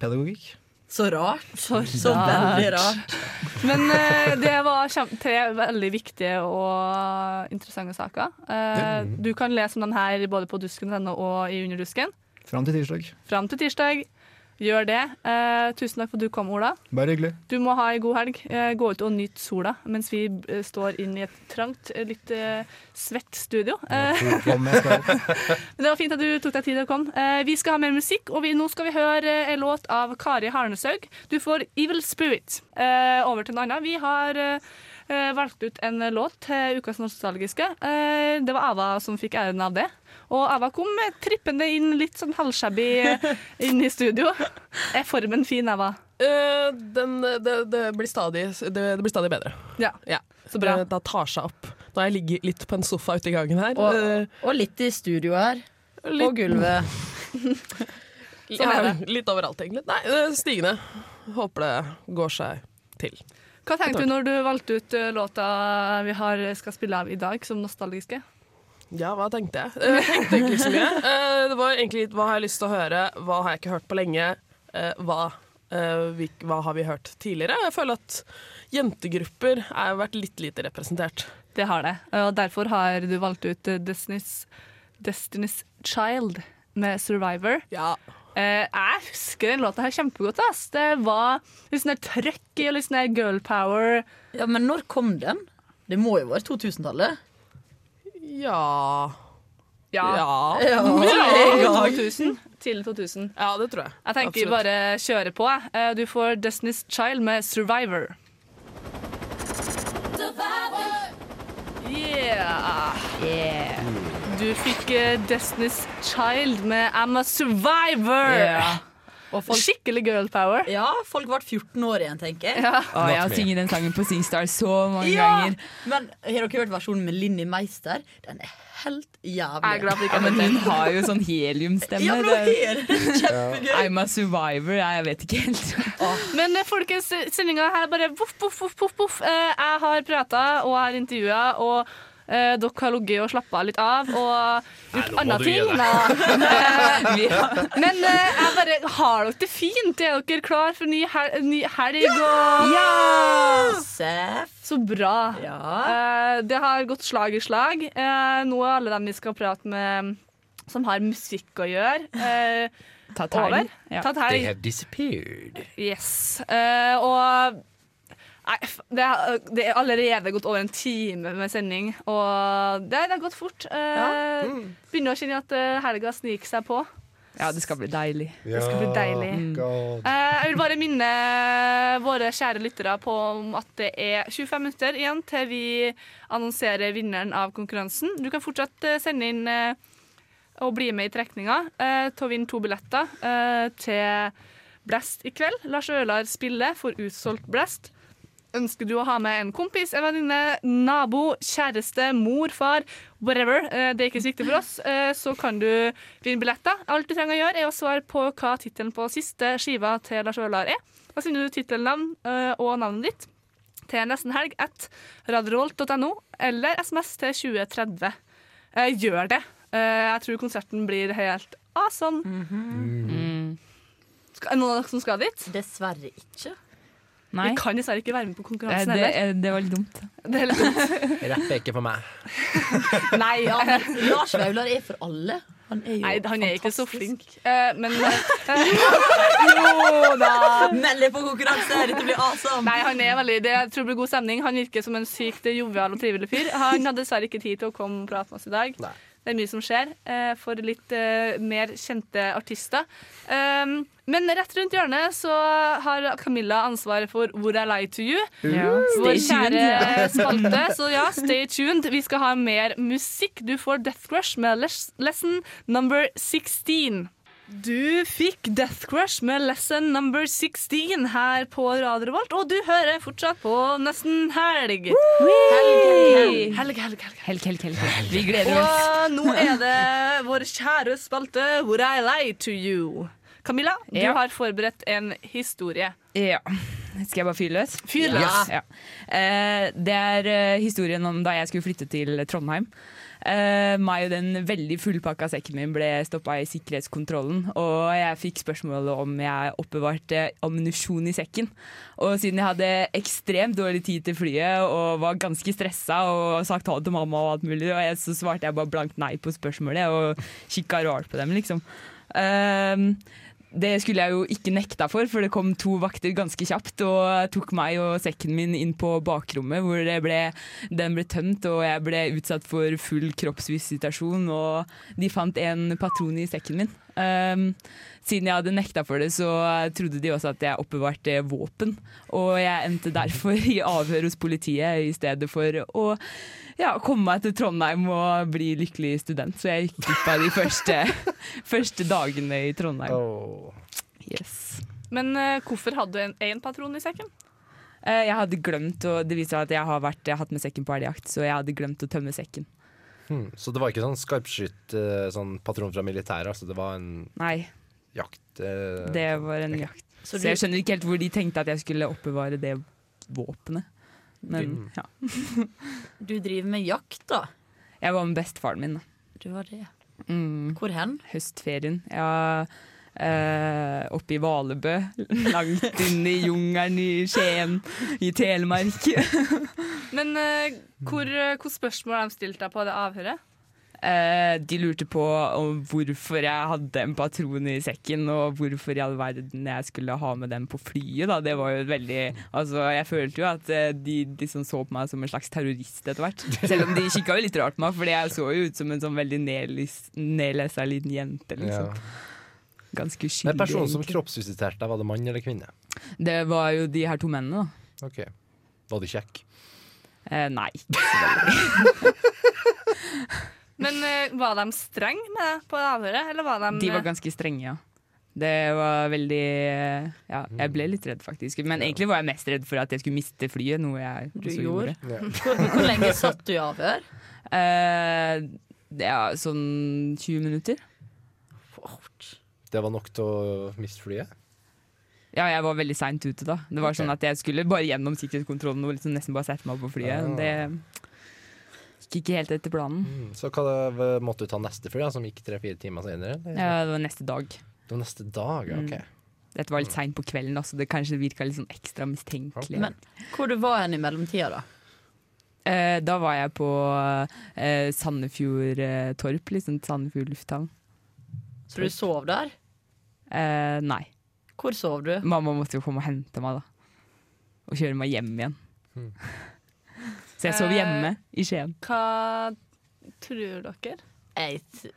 Pedagogikk. Så rart. Så, rart. veldig rart. Men eh, det var kjem- tre veldig viktige og interessante saker. Eh, du kan lese om den her både på dusken.no og i Underdusken Fram til tirsdag. fram til tirsdag. Gjør det. Eh, tusen takk for at du kom, Ola. Bare hyggelig. Du må ha ei god helg. Eh, gå ut og nyt sola mens vi eh, står inn i et trangt, eh, litt eh, svett studio. Eh, men det var fint at du tok deg tid til å komme. Eh, vi skal ha mer musikk, og vi, nå skal vi høre eh, en låt av Kari Harneshaug. Du får 'Evil Spirit'. Eh, over til en annen. Vi har eh, eh, valgte ut en låt til Ukas nostalgiske. Eh, det var Ava som fikk æren av det. Og Ava kom eh, trippende inn litt sånn halvshabby eh, inn i studio. Er formen fin, Ava? Eh, den, det, det, blir stadig, det, det blir stadig bedre. Ja. Så bra. Da tar seg opp. Nå har jeg ligget litt på en sofa ute i gangen her. Og, Eh, og litt i studio her. På Litt- gulvet. Sånn Ja. er det. Litt overalt, egentlig. Nei, eh, stigende. Håper det går seg til. Hva tenkte du når du valgte ut eh, låta vi har, skal spille av i dag, som nostalgiske? Ja, hva tenkte jeg? Eh, Jeg tenkte egentlig ikke så mye. Eh, Det var egentlig litt, hva har jeg lyst til å høre, hva har jeg ikke hørt på lenge, eh, hva, eh, vi, hva har vi hørt tidligere? Jeg føler at jentegrupper har vært litt lite representert. Det har det. Og derfor har du valgt ut eh, Destiny's, Destiny's Child med Survivor. Eh, jeg husker den låta her kjempegodt. Ass. Det var litt sånn der trøkk i og litt sånn der girl power. Ja, Men når kom den? Det må jo være 2000-tallet? Ja Ja. Ja. Tidlig Ja. 2000. Tidlig 2000. Ja, det tror jeg. Jeg tenker Absolutt. bare kjøre på. jeg. Eh, Du får Destiny's Child med Survivor. Yeah. Du fikk eh, Destiny's Child med I'm a Survivor. Ja. Skikkelig girl power. Ja, folk ble 14 år igjen, tenker jeg. Ja. Å, jeg har sunget den sangen på Singstar så mange ja. ganger. Men har dere hørt versjonen med Linni Meister? Den er helt jævlig. ja, men hun har jo sånn heliumstemme. Ja, men hun det- er kjempegøy. I'm a survivor. Ja, jeg vet ikke helt. Men eh, folkens, sendinga her bare voff, voff, voff, voff, voff. Eh, Jeg har prata og jeg har intervjua, og eh, dere har ligget og slappa litt av og gjort nå må andre du ting. gi deg. da. Eh, Men eh, jeg bare Har dere det fint? Er dere klar for ny, hel ny helg? og- Ja! Så bra. Eh, Det har gått slag i slag. Eh, Nå er alle dem vi skal prate med som har musikk å gjøre, eh, Tatt over. helg. Ja. Tatt helg. disappeared. Yes. Eh, og nei, f- det, er- det er allerede gått over en time med sending, og det, det har gått fort. Eh, Begynner å kjenne at eh, helga sniker seg på. Ja, det skal bli deilig. Det skal bli deilig. Eh, jeg vil bare minne våre kjære lyttere på om at det er 25 minutter igjen til vi annonserer vinneren av konkurransen. Du kan fortsatt eh, sende inn eh, og bli med i trekninga eh, til å vinne to billetter eh, til Blast i kveld. Lars Ølar spiller for utsolgt Blast. Ønsker du å ha med en kompis, en venninne, nabo, kjæreste, mor, far, whatever, eh, det er ikke så viktig for oss, eh, så kan du vinne billetter. Alt du trenger å gjøre, er å svare på hva tittelen på siste skiva til Lars Vaular er. Da sender du tittelnavn eh, og navnet ditt til nestenhelg at radiorolt.no eller SMS til 2030. Eh, Gjør det. Eh, Jeg tror konserten blir helt awesome. Mm. Mhm. Skal- Er det noen av dere som skal dit? Dessverre ikke. Nei. Vi kan dessverre ikke være med på Eh, konkurransen Det, heller. eh, det var litt dumt. Det er litt dumt. Rapp er ikke for meg. Nei, Ja, men Lars Vaular er for alle. Han er jo Nei, han er ikke så flink. Eh, men Jo da! Meld deg på konkurranse, dette blir awesome! Nei, han er veldig, det jeg tror det blir god stemning. Han virker som en sykt jovial og trivelig fyr. Han hadde dessverre ikke tid til å komme og prate med oss i dag. Det er mye som skjer eh, for litt eh, mer kjente artister. Um, men rett rundt hjørnet så har Camilla ansvaret for Hvor er Lie to you? Ja. Vår Stay tuned. kjære spalte. Så ja, stay tuned. Vi skal ha mer musikk. Du får Death Crush med les Lesson number 16. Du fikk Death Crush med lesson number 16 her på Radio Revolt, og du hører fortsatt på Nesten helg. Helg, helg, helg, helg, helg. Helg, helg, helg. helg. Vi gleder oss. Og nå er det vår kjære spalte Would I lie to you? Camilla, du Ja. har forberedt en historie. Ja. Skal jeg bare fyre løs? Fyr løs. Ja. Eh, det er eh, historien om da jeg skulle flytte til Trondheim. Eh, meg og den veldig fullpakka sekken min ble stoppa i sikkerhetskontrollen. Og jeg fikk spørsmålet om jeg oppbevarte ammunisjon i sekken. Og siden jeg hadde ekstremt dårlig tid til flyet og var ganske stressa og sagt ha det til mamma og alt mulig, og jeg, så svarte jeg bare blankt nei på spørsmålet og kikka rart på dem, liksom. Eh, det skulle jeg jo ikke nekta for, for det kom to vakter ganske kjapt og tok meg og sekken min inn på bakrommet, hvor det ble, den ble tømt og jeg ble utsatt for full kroppsvisitasjon. Og de fant en patron i sekken min. Ehm, siden jeg hadde nekta for det, så trodde de også at jeg oppbevarte våpen. Og jeg endte derfor i avhør hos politiet i stedet for å ja, komme meg til Trondheim og bli lykkelig student. Så jeg gikk glipp av de første, første dagene i Trondheim. Yes. Men eh, hvorfor hadde du en, en patron i sekken? Eh, Jeg hadde glemt, og det viser seg at jeg har, vært, jeg har hatt med sekken på elgjakt, så jeg hadde glemt å tømme sekken. Hmm, så det var ikke sånn skarpskytt eh, sånn patron fra militæret, altså det var en Nei, jakt? eh, det var en jakt. Så Så, du- jeg skjønner ikke helt hvor de tenkte at jeg skulle oppbevare det våpenet. Men Du- ja. Du driver med jakt, da? Jeg var med bestefaren min. da. Du har det. Mm. Hvor hen? Høstferien. Ja, eh, oppe i Valebø. Langt inn i jungelen i Skien, i Telemark. Men eh, hvor, eh, hvor spørsmål har de stilt deg på det avhøret? Eh, de lurte på om hvorfor jeg hadde en patron i sekken, og hvorfor i all verden jeg skulle ha med den på flyet. Da. Det var jo et veldig Altså, jeg følte jo at eh, de, de som så på meg som en slags terrorist etter hvert. Selv om de kikka jo litt rart på meg, fordi jeg så jo ut som en sånn veldig nedlis- nedlesa liten jente, liksom. Ja. Ganske uskyldig. Men personen som egentlig. kroppsvisiterte deg, var det mann eller kvinne? Det var jo de her to mennene, da. Ok. Var de kjekk? Eh, nei. Men eh, var de streng med deg på det avhøret, eller var de eh, De var ganske strenge, ja. Det var veldig eh, Ja, jeg ble litt redd, faktisk. Men egentlig var jeg mest redd for at jeg skulle miste flyet, noe jeg Du også gjorde? gjorde. Ja. Hvor- hvor lenge satt du i avhør? Eh, ja, sånn 20 minutter. Det var nok til å miste flyet? Ja, jeg var veldig seint ute da. Det var Ok. sånn at Jeg skulle bare gjennom sikkerhetskontrollen og liksom nesten bare sette meg på flyet. Ah. Det gikk ikke helt etter planen. Mm, Så hva det, måtte du ta neste fly, da, som gikk tre-fire timer senere? eller? Ja, det var neste dag. Det var neste dag, ja, Mm. ok. Dette var litt seint på kvelden, da, så det kanskje virka litt sånn ekstra mistenkelig. Men hvor du var hen i mellomtida, da? Eh, da var jeg på eh, Sandefjord eh, Torp, liksom Sandefjord lufthavn. Så du sov der? Eh, nei. Hvor sov du? Mamma måtte jo komme og hente meg, da. Og kjøre meg hjem igjen. Hmm. Så Eh. jeg sov hjemme i Skien. Hva tror dere? Jeg, jeg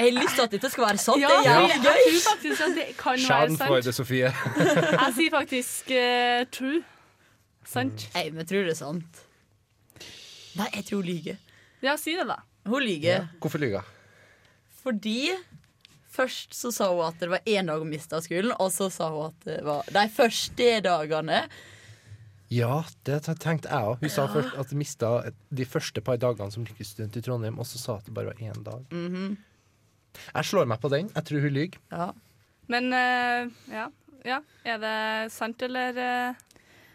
har lyst til at dette skal være sant. Ja, det er jeg jævlig gøy! tror faktisk at det kan være sant. Sofie. Jeg sier faktisk eh, true. Sant? Nei, men jeg tror det er sant. Nei, jeg tror hun lyver. Ja, si det, da. Hun lyver Hvorfor lyver fordi først så sa hun at det var én dag hun mista skolen, og så sa hun at det var de første dagene. Ja, det t- tenkte jeg òg. Hun sa Ja. først at de mista de første par dagene som lykkestudent i Trondheim, og så sa at det bare var én dag. Mm. Mhm. Jeg slår meg på den. Jeg tror hun lyver. Men eh, ja. ja. Er det sant, eller eh?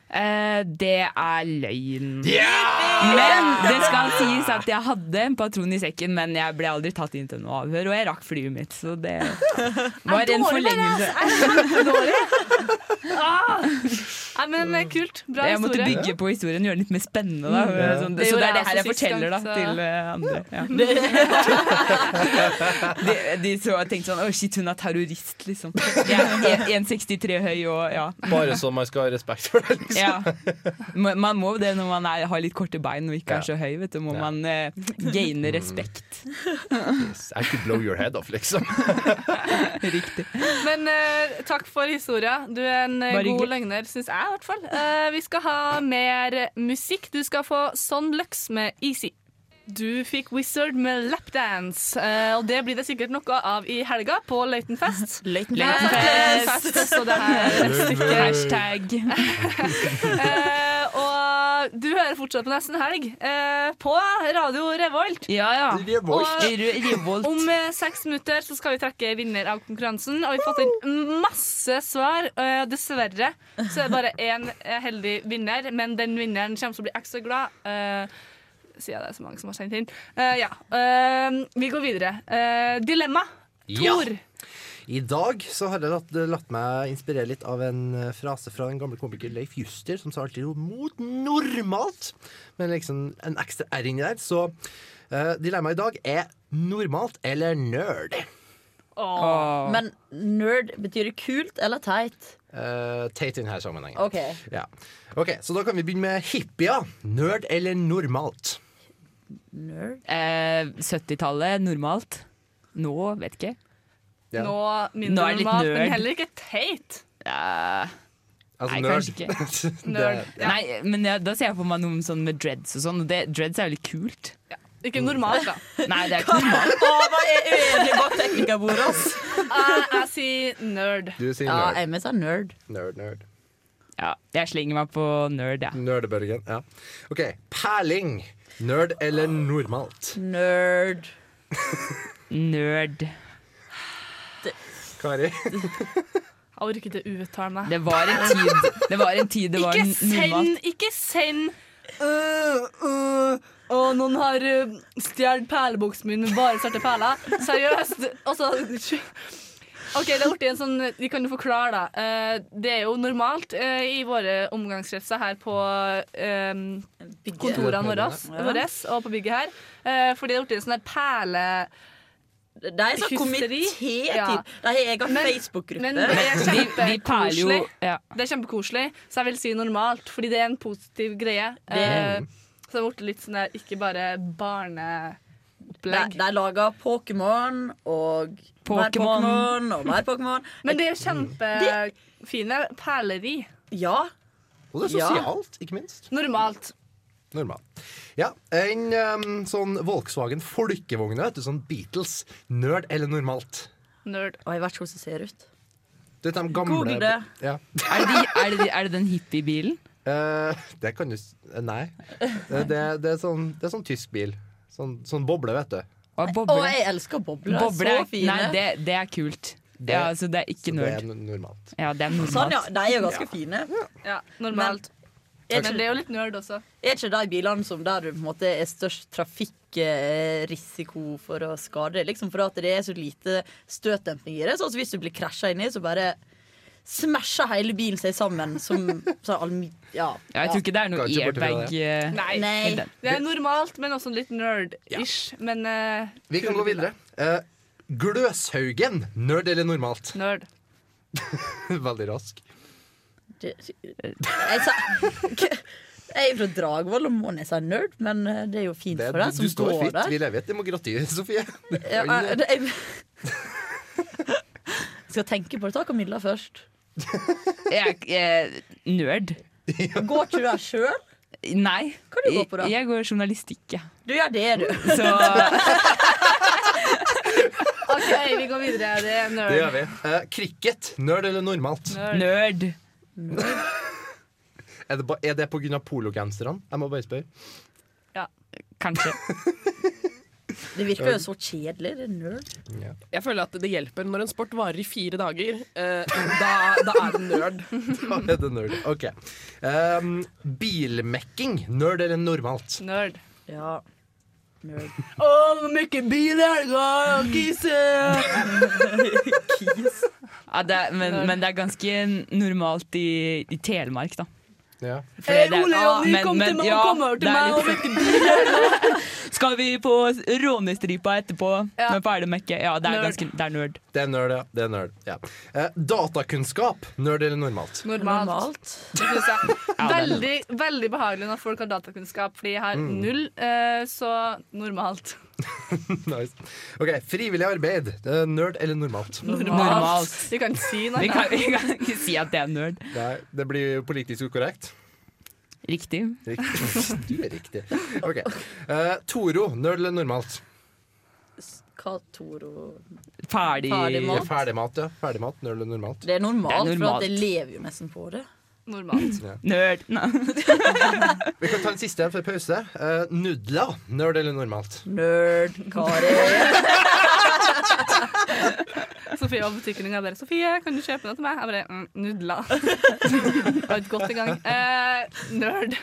Eh, det er løgn. Men det skal sies at jeg hadde en patron i sekken, men jeg ble aldri tatt inn til noe avhør, og jeg rakk flyet mitt, så det var en forlengelse. Ah! Nei, men eh, kult. Bra jeg måtte historie. Mm. bygge på historien, gjøre den litt mer spennende. Da. Ja. Sånn, Det så det er gjorde det jeg her jeg også sist forteller da, gang, så- til eh, andre. Ja. de, de så og tenkte sånn Å, shit, hun er terrorist, liksom. Jeg er 1,63 høy og ja. Bare så man skal ha respekt for det. Liksom. Ja. Ma- Man må det når man er, har litt korte bein og ikke er så høy, vet du. Må Ja. Mm. man eh, gaine respekt. I could blow your head off, liksom. Men eh, takk for historia. Du er en eh, Bare god hyggelig. løgner, syns jeg i hvert fall. Eh, vi skal ha mer musikk. Du skal få Son Lux med Easy. Du fikk Wizard med lapdance, eh, og det blir det sikkert noe av i helga på Løitenfest. Løitenfest. Løitenfest, Så det her er et stykke Hashtag. Eh, og du hører fortsatt på Nesten Helg eh, på Radio Revolt. Ja, ja. Revolt. Re- Revolt. Om eh, seks minutter så skal vi trekke vinner av konkurransen, og vi har fått inn masse svar. Eh, dessverre så er det bare én eh, heldig vinner, men den vinneren kommer til å bli ekstra glad. Eh, Siden det er så mange som har sendt inn. Eh, ja. Eh, vi går videre. Eh, dilemma. Ja. Tor. I dag så har jeg latt, latt meg inspirere litt av en eh, frase fra den gamle komiker Leif Juster, som sa alltid noe mot normalt, men liksom en ekstra R inni der. Så eh, dilemmaet i dag er normalt eller nerd. Åh. Men nerd, betyr det kult eller teit? Eh, teit i denne sammenhengen. Ok. Ja. ok, Så da kan vi begynne med hippier. Nerd eller normalt? Eh, 70-tallet, normalt. Nå, vet ikke. Ja. Nå Nå mindre er jeg litt normalt, men nerd. heller ikke teit. Eh, Altså, nei, nerd. kanskje ikke. Det- Nerd, ja. Nei, men ja, da ser jeg for meg noen sånn med dreads og sånn. og det- Dreads er jo litt kult. Ikke normalt, da. Nei, det er ikke normalt. hva er uenig bak teknikerbordet, ass? Jeg, jeg sier nerd. Du sier Ja, nerd. Emmy sa nerd. Nerd, nerd. Ja, jeg slenger meg på nerd, jeg. Nerdebørgen. Ja. OK. Perling. Nerd eller normalt? Nerd. Nerd. Kari? Jeg orker ikke uttale meg. Det var en tid det var, en tid det var Ikke normalt. send, ikke send øh, øh, «Å, noen har øh, stjålet perlebuksen min med bare svarte perler. Seriøst. Altså OK, det er artig en sånn Vi kan jo forklare, da. Eh, det er jo normalt eh, i våre omgangskretser her på eh, kontorene våre, Ja. våre og på bygget her. eh, fordi det er blitt en sånn der perle... Det er sånn komité-tid. De har egen Facebook-gruppe. Men det er Vi- vi perler jo- kjempekoselig. ja. Det er kjempekoselig, så jeg vil si normalt, fordi det er en positiv greie. Det- Eh, så det er blitt litt sånn der ikke bare barneopplegg. De, de lager Pokémon og mer Pokémon. Pokémon og mer Pokémon. Men det er kjempefine perleri. Ja. Og det er Ja. sosialt, ikke minst. Normalt. Normalt. Ja, En em, sånn Volkswagen folkevogne, vet du, sånn Beatles. Nerd eller normalt? Nerd. Og jeg vet ikke hvordan det ser ut. Du vet de gamle Google det. Ja. Er det, de, er, det de, er det den hippiebilen? Eh, det kan du s- Nei. Eh, Det, det, er sånn, det er sånn tysk bil. Sånn, sånn boble, vet du. Og Og jeg elsker bobler. Boble Så er- fine. Nei, det, det er kult. Det, ja, altså, det er ikke det er nerd. n- normalt. Ja, det er normalt. Sånn, ja. De er jo ganske Ja. fine. Ja, normalt. Men, Men det er jo litt nerd også. Er ikke de bilene som der det på en måte er størst trafikkrisiko for å skade? Liksom for at det er så lite støtdemping i det. Sånn at hvis du blir krasja inni, så bare smasjer hele bilen seg sammen som sånn almi... Ja. Ja, jeg tror ikke det er noe Kan ikke borte fra airbag det. eh, Nei. Nei. i den. Det er normalt, men også litt nerd-ish. Men eh, Vi kan kule gå videre. Eh, Gløshaugen. Nerd eller normalt? bilder. Nerd. Veldig rask. Det, jeg sa K- Jeg er fra Dragvoll og må nesten si nerd, men eh, det er jo fint Det, for deg du, som du står går fritt. der. Vi lever i et demokrati, Sofie. Ja, jeg, det- jeg skal tenke på det. Ta Camilla først. Jeg er nerd. Går ikke du der sjøl? Nei. Hva du går på da? Jeg går journalistikk, ja. Du gjør det, du. Så OK, vi går videre. Det er nerd. Det gjør vi. Eh, cricket. Nerd eller normalt? Nerd. Er det, ba- er det pga. pologenserne? Jeg må bare spørre. Kanskje. Det virker jo så kjedelig. Det er nerd. Jeg føler at det hjelper når en sport varer i fire dager. eh, da, da er den nerd. Da er det nerd. OK. Um, bilmekking. Nerd eller normalt? Nerd. Ja. Nerd. Å, hvor mye bil i helga, Kise! Ja, det er, men, Nerd. men det er ganske normalt i, i Telemark, da. Ja. For det er- Eh, Ole Jonny, men- kom til men- meg, ja, kom over til det er meg litt- og vekke bilen. Skal vi på rånestripa etterpå Ja. med perlemekket? Ja, det er Nerd. ganske Det er nerd. Det er nerd, ja. Det er nerd, ja. Eh, datakunnskap. Nerd eller normalt? Normalt. Det synes jeg. Ja, det er Veldig, veldig behagelig når folk har datakunnskap, fordi jeg har Mm. null, eh, så normalt. nice. OK. Frivillig arbeid. Eh, Nerd eller normalt? Normalt. Vi kan ikke si noe. Vi kan, vi kan ikke si at det er nerd. Nei, det blir jo politisk ukorrekt. Riktig. Riktig. Du er riktig. OK. Eh, Toro. Nerd eller normalt? Hva Toro Ferdig Ja, Ferdigmat, ja. Ferdigmat. Nerd eller normalt? Det er Det normalt, er for at jeg normalt. lever jo nesten på det. Normalt. Ja. Nerd. Vi kan ta en siste før pause. Eh, nudler. Nerd eller normalt? Nerd, Kari. Sofie var på butikken en gang og bare 'Sofie, kan du kjøpe noe til meg?' Jeg bare mm, 'Nudler'. Det var et godt i gang. Eh, nerd.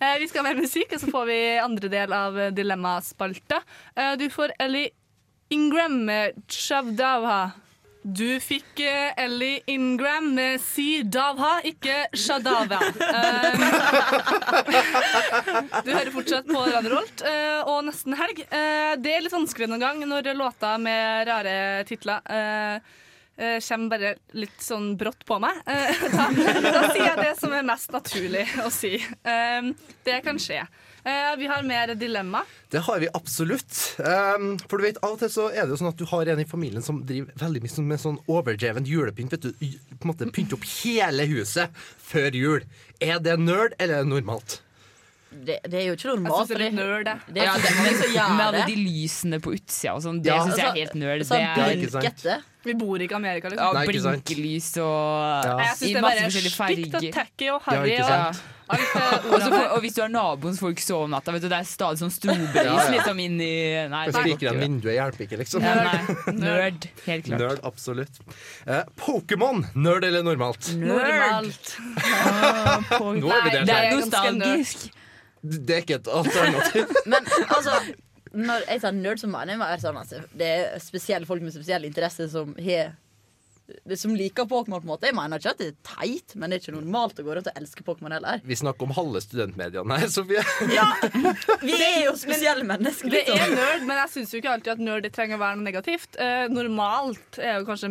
Eh, vi skal mer musikk, og så får vi andre del av eh, Dilemmaspalta. Eh, du får Ellie Ingram med 'Chavdavha'. Du fikk eh, Ellie Ingram med Si Davha, ikke Shadava. Eh, du hører fortsatt på Radio Rolt eh, og Nesten Helg. Eh, det er litt vanskelig noen gang når låter med rare titler eh, eh, kommer bare litt sånn brått på meg. Eh, da, da sier jeg det som er mest naturlig å si. Eh, det kan skje. Eh, vi har mer dilemma. Det har vi absolutt. Ehm, for du vet, Av og til så er det jo sånn at du har en i familien som driver veldig mye sånn- med sånn overdreven julepynt. vet du, Y- på en måte Pynte opp hele huset før jul. Er det nerd, eller er det normalt? Det, det er jo ikke Jeg synes normalt. det er litt nerd, jeg. det er Ja, ikke så mange som gjør med alle det. de lysene på utsida og sånn, det Ja, syns jeg er altså, helt nerd. sånn Det er blinkete. Vi bor ikke i Amerika, ja, liksom. blinkelys og Nei, Jeg i syns masse det bare er forskjellige stygt og farger. tacky og harry. og- og, så får- og hvis du har naboens folk sove om natta, vet du, det er stadig sånn strobelys Ja, ja. liksom inn i Nei, det går Spiker ikke. en vinduet hjelper ikke, liksom. Ja, nei, nerd. Helt klart. Nerd, absolutt. Eh, Pokémon, nerd eller normalt? Normalt. Nå er vi der. Nei, det er nostalgisk. Det er ikke et alternativ. Men altså når jeg sier nerd, så mener jeg mer sånn altså, Det er spesielle folk med spesielle interesser som har det som liker Pokémon. på en måte Jeg mener ikke at det er teit, men det er ikke normalt å gå rundt og elske Pokémon heller. Vi snakker om halve studentmediene her, Sofie. Vi er jo spesielle mennesker. Det er liksom. nerd, men jeg syns jo ikke alltid at nerd det trenger å være noe negativt. Eh, normalt er jo kanskje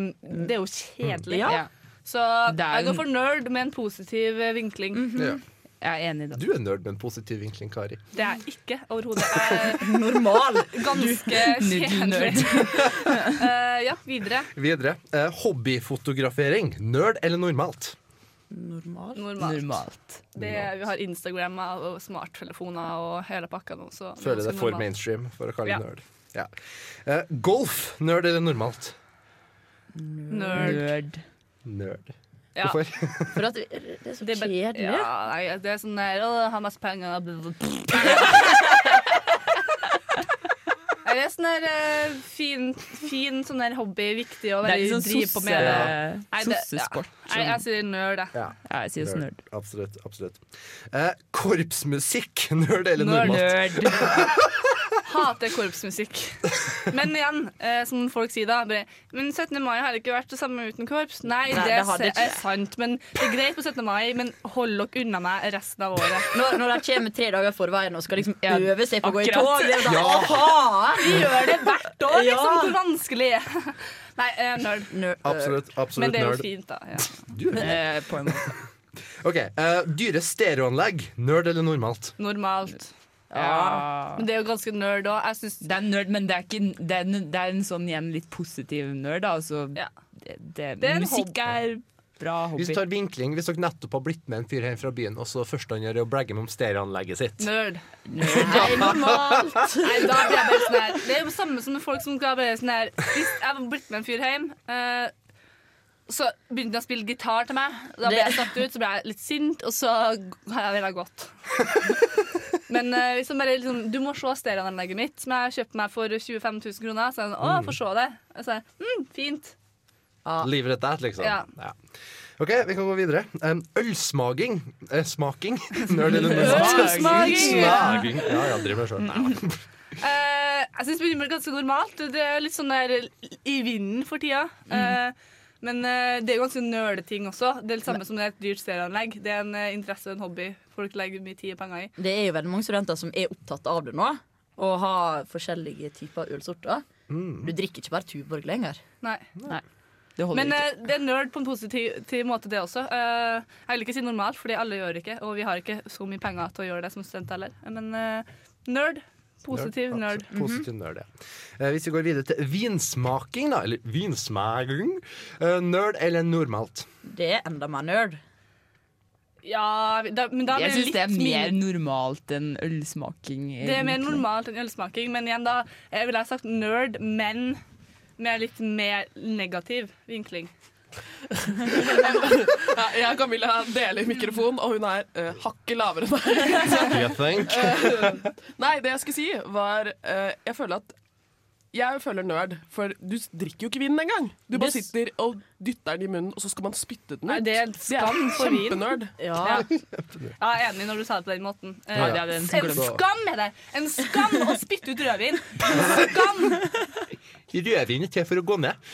Det er jo kjedelig. Ja. Så jeg går for nerd med en positiv eh, vinkling. Mhm. Ja. Jeg er enig i det. Du er nerd med en positiv vinkling, Kari. Det er jeg ikke overhodet. Jeg er Normal. ganske kjedelig. Eh, ja, videre. Videre. Eh, hobbyfotografering. Nerd eller normalt? Normalt. Normalt. Det, vi har Instagram og smarttelefoner og hele pakka nå. Så Føler det er det også er for normalt. mainstream for å kalle Ja. det nerd. Ja. Eh, golf. Nerd eller normalt? Nerd. Nerd. Ja. Hvorfor? For at det det er så Det er bare- kjedelig. Ja, nei, det er sånn der Å, ha masse penger Nei, Det er sånn der eh, fin, fin sånn der hobby, viktig Det å er være litt sånn driv på sosse- med Ja. Nei, det- ja. sossesport, sånn. Nei, jeg sier nerd, jeg. Ja. jeg sier også nerd. Absolutt. absolutt. Eh, korpsmusikk. Nerd eller Nerd. normalt? Hater korpsmusikk. Men igjen, eh, som folk sier da bare, Men 17. mai har ikke vært det samme uten korps. Nei, Nei, det, det har det ikke. er sant. Men det er greit på 17. mai, men hold dere unna meg resten av året. Når, når de kommer tre dager forveien og skal liksom Ja, øve seg på å gå i akkurat. tog det er sånn, Ja. aha! Vi gjør det hvert år, Ja. liksom. Hvor vanskelig er det? Nei, eh, nerd. Absolutt, absolutt Men det er jo nerd. fint, da. Ja. Du er Eh, på en måte. Ok, eh, Dyre stereoanlegg. Nerd eller normalt? Normalt. Ja. Men det er jo ganske nerd òg. Jeg syns Det er nerd, men det er, ikke, det er, en- det er en sånn igjen litt positiv nerd. Da. Altså, det, det, Det er en musikk er bra Hvis hobby. du tar vinkling, hvis dere nettopp har blitt med en fyr hjem fra byen, og så første han gjør er å bragge meg om stereoanlegget sitt Nerd. Nei, normalt. Nei, da blir jeg bare sånn her. Det er jo samme som med folk som ga bare sånn her Hvis jeg var blitt med en fyr hjem, eh, så begynte han å spille gitar til meg. Da ble Det- jeg satt ut, så ble jeg litt sint, og så har jeg veldig godt. Men eh, hvis han bare liksom Du må se stereoanlegget mitt, som jeg kjøpte meg for 25 000 kroner. Så er jeg sånn Å, jeg får se det. Og så er jeg mm, fint. Livrett that, liksom. Ja. OK, vi kan gå videre. Um, ølsmaking. Eh, smaking. Nerd eller normalt? Ølsmaking, Mm, ja. Ølsmaking. Ja, ja, driver med sånn. sjøl. Mm. Eh, jeg syns det begynner å bli ganske normalt. Det er litt sånn der i vinden for tida. Mm. Eh, men eh, det er jo ganske nerdeting også. Det er det samme som det er et dyrt stereoanlegg. Det er en eh, interesse og en hobby folk legger mye tid og penger i. Det er jo veldig mange studenter som er opptatt av det nå. Og har forskjellige typer ølsorter. Du drikker ikke bare Tuborg lenger. Nei. Det holder Men ikke. eh, det er nerd på en positiv til måte, det også. Eh, jeg vil ikke si normalt, fordi alle gjør det ikke, og vi har ikke så mye penger til å gjøre det som student heller. Men eh, nerd. Positiv nerd. Mhm. Absolutt. Positiv nerd, ja. Eh, hvis vi går videre til vinsmaking, da. Eller vinsmaking. Eh, nerd eller normalt? Det er enda mer nerd. Mhm. Ja, da, men da jeg blir det syns det er litt mer normalt enn ølsmaking. Det er mer egentlig. normalt enn ølsmaking, men igjen da eh, ville jeg sagt nerd, men med litt mer negativ vinkling. Ja, jeg og Camilla deler mikrofon, og hun er eh, hakket lavere enn meg. You think? Eh, nei, det jeg skulle si, var eh, Jeg føler at jeg føler nerd, for du s- drikker jo ikke vin engang. Du bare Yes. sitter og dytter den i munnen, og så skal man spytte den Nei, ut. det er en skam for vin. kjempenerd. Ja. Ja, jeg er enig når du sa det på den måten. Eh, Ja, ja, det er en en skam. skam er det! En skam å spytte ut rødvin! En skam! rødvin til for å gå ned.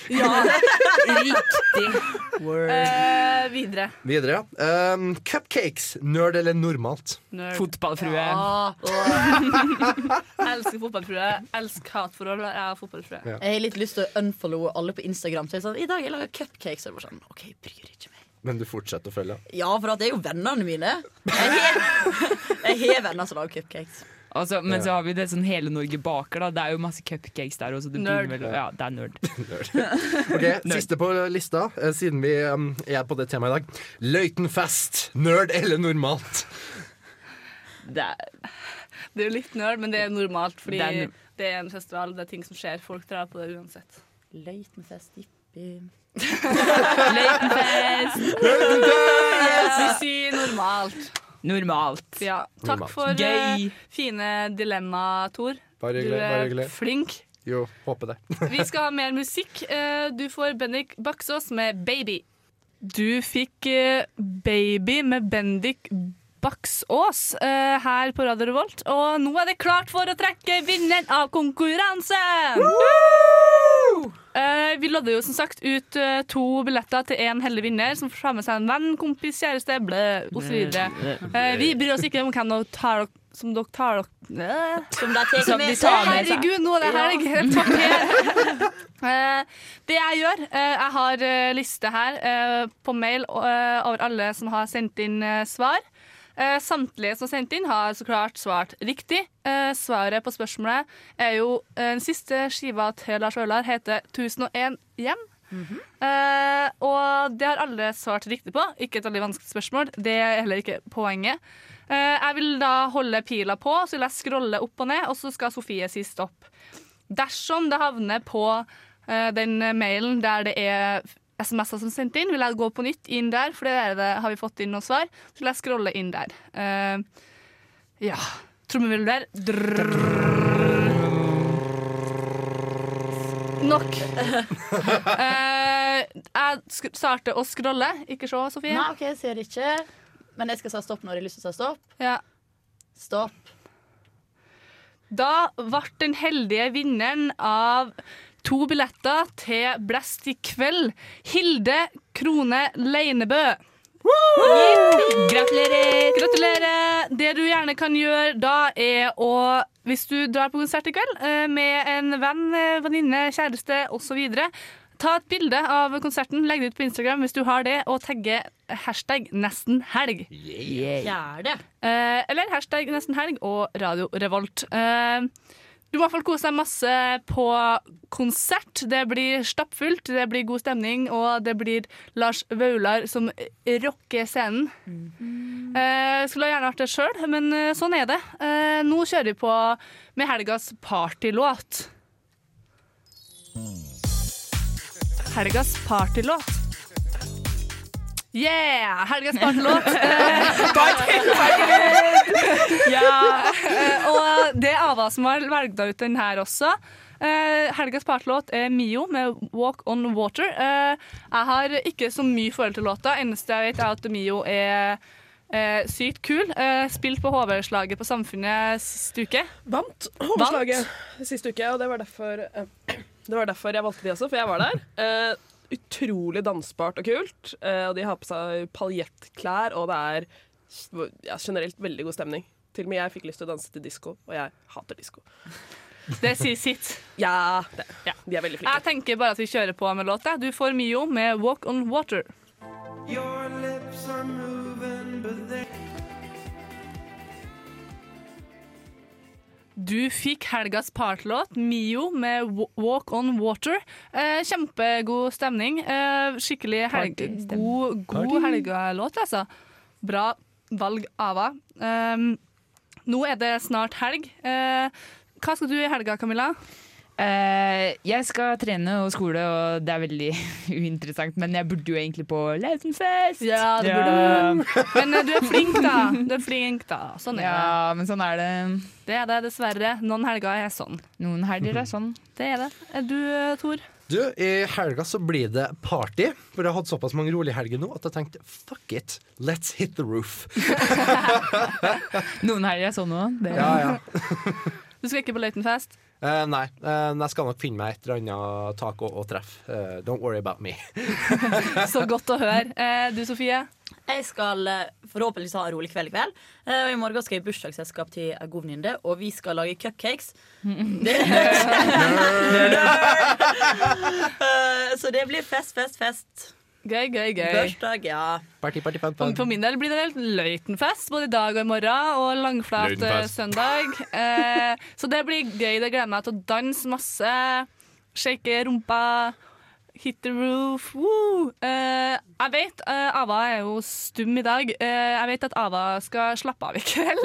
Riktig. Eh, videre. Videre. Um, cupcakes. Nerd eller normalt? Nerd. Fotballfrue. Ja. elsker fotballfrue. Elsker hatforhold. Jeg er fotballfrue. Ja. Jeg har litt lyst til å unfollowe alle på Instagram. Så jeg er sånn, I dag jeg lager cupcakes. Og jeg bare sånn, ok, bryr ikke meg. Men du fortsetter å følge. Ja, for at det er jo vennene mine. Jeg har- Jeg har venner som lager cupcakes. Altså, men Ja. så har vi det sånn hele Norge baker, da. Det er jo masse cupcakes der også. Det Nerd. nerd. Vel, ja, det er nerd. Ok, Siste på lista, eh, siden vi um, er på det temaet i dag. Løitenfest. Nerd eller normalt? Det er, det er jo litt nerd, men det er normalt, fordi Det det er er, nerd. en festival, det er ting som skjer. Folk drar på det uansett. Løitenfest, jippi. Løitenfest! Vi sier normalt. Normalt. Ja. Takk Normalt. for Gøy. eh, fine dilemma, Tor. Bare du hyggelig. er Bare hyggelig. flink. Jo, håper det. Vi skal ha mer musikk. Eh, Du får Bendik Baksås med 'Baby'. Du fikk eh, 'Baby' med Bendik Baksås eh, her på Radio Revolt. Og nå er det klart for å trekke vinneren av konkurransen! Eh, vi lodder jo som sagt ut eh, to billetter til en heldig vinner, som får ta med seg en venn, kompis, kjæreste, blø, osv. Eh, Uh, vi bryr oss ikke om hvem dere tar dere som dere tar dere øh, Som de tar som med de seg. tar med seg. Herregud, nå er det Ja. helg! Helt papir. Eh, det jeg gjør eh, Jeg har eh, liste her eh, på mail eh, over alle som har sendt inn eh, svar. Eh, samtlige som har sendt inn, har så klart svart riktig. Eh, svaret på spørsmålet er jo eh, Den siste skiva til Lars Vaular heter 1001 hjem. Eh, og det har alle svart riktig på. Ikke et veldig vanskelig spørsmål. Det er heller ikke poenget. Eh, jeg vil da holde pila på, så vil jeg scrolle opp og ned, og så skal Sofie si stopp. Dersom det havner på eh, den mailen der det er SMS-er som er sendt inn, vil jeg gå på nytt inn der, for det er det, har vi fått inn noen svar. Så vil jeg scrolle inn der. Eh, ja. Trommevirvel der. Drrrr. Nok. Eh, jeg sk- starter å scrolle. Ikke se, Sofie. Nei, OK, jeg ser ikke. Men jeg skal si stopp når jeg har lyst til å si stopp. Ja. Stopp. Da ble den heldige vinneren av to billetter til Blest i kveld Hilde Krone Leinebø. Woo! Gratulerer! Gratulerer! Det du gjerne kan gjøre da, er å Hvis du drar på konsert i kveld eh, med en venn, eh, venninne, kjæreste osv. Ta et bilde av konserten, legg det ut på Instagram hvis du har det, og tagge hashtag 'nesten helg'. Fjerde. Eh, eller hashtag nesten helg og Radio Revolt. Eh, du må i hvert fall kose deg masse på konsert. Det blir stappfullt, det blir god stemning, og det blir Lars Vaular som rocker scenen. Eh, skulle ha gjerne vært det sjøl, men eh, sånn er det. Eh, nå kjører vi på med helgas partylåt. Helgas partylåt. Yeah! Helgas partylåt. Eh, ja, eh, og det er Ava som har velget ut den her også. Eh, helgas partlåt er Mio med 'Walk on Water'. Eh, jeg har ikke så mye forhold til låta. Eneste jeg vet, er at Mio er eh, sykt kul. Eh, spilt på HV-slaget på Samfunnet sist uke. Vant Håndslaget sist uke, og det var, derfor, eh, det var derfor jeg valgte de også, for jeg var der. Eh, utrolig dansbart og kult, eh, og de har på seg paljettklær, og det er ja, generelt veldig god stemning. Til og med jeg fikk lyst til å danse til disko, og jeg hater disko. Det sier sitt. Ja, det, ja, de er veldig flinke. Jeg tenker bare at vi kjører på med låta. Du får Mio med 'Walk on Water'. Du fikk helgas partlåt, Mio, med Wa- 'Walk on Water'. Eh, kjempegod stemning. Eh, skikkelig helg Partystemning. god, god Party. helgelåt, altså. Bra valg, Ava. Um, nå er det snart helg. Eh, hva skal du i helga, Camilla? Eh, jeg skal trene og skole, og det er veldig uinteressant, men jeg burde jo egentlig på Lautenfest. Ja, det burde du. Men eh, du er flink, da. Du er flink, da. Sånn er det. Ja, men sånn er det. Det er det, dessverre. Noen helger er sånn. Noen helger er sånn. Det er det. Er du, eh, Tor? Du, I helga så blir det party. For jeg har hatt såpass mange rolige helger nå at jeg tenkte fuck it, let's hit the roof. Noen helger er sånn òg. Ja, ja. Du skal ikke på Løitenfest? Eh, nei, eh, men jeg skal nok finne meg et eller annet tak å, å treffe. Eh, don't worry about me. Så godt å høre. Eh, du, Sofie? Jeg skal eh, forhåpentligvis ha en rolig kveld i kveld. Eh, Og I morgen skal jeg i bursdagsselskap til en god venninne, og vi skal lage cupcakes. Det Eh, Så det blir fest, fest, fest. Gøy, gøy, gøy. Bursdag, ja. Party, party, fun, For, for min del blir det en helt løytenfest både i dag og i morgen, og langflat eh, Løytenfest. søndag. Eh, så det blir gøy. Det gleder jeg meg til å danse masse. Shake rumpa. Hit the roof. Woo! Eh, jeg vet eh, Ava er jo stum i dag. Eh, jeg vet at Ava skal slappe av i kveld.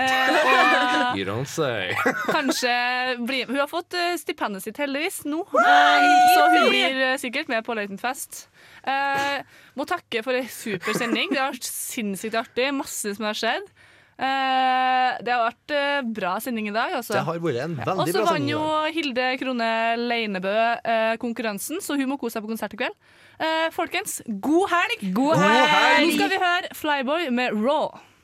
Eh, og You don't say. kanskje bli Hun har fått eh, stipendet sitt, heldigvis, nå. Wow! Så hun blir eh, sikkert med på Løytenfest. Eh, må takke for en super sending. Det har vært sinnssykt artig. Masse som har skjedd. Eh, det har vært eh, bra sending i dag, altså. Det har vært en veldig bra Og så vant sending i jo dag. Hilde Krone Leinebø eh, konkurransen, så hun må kose seg på konsert i kveld. Eh, folkens, god helg! God helg! Nå skal vi høre Flyboy med Raw.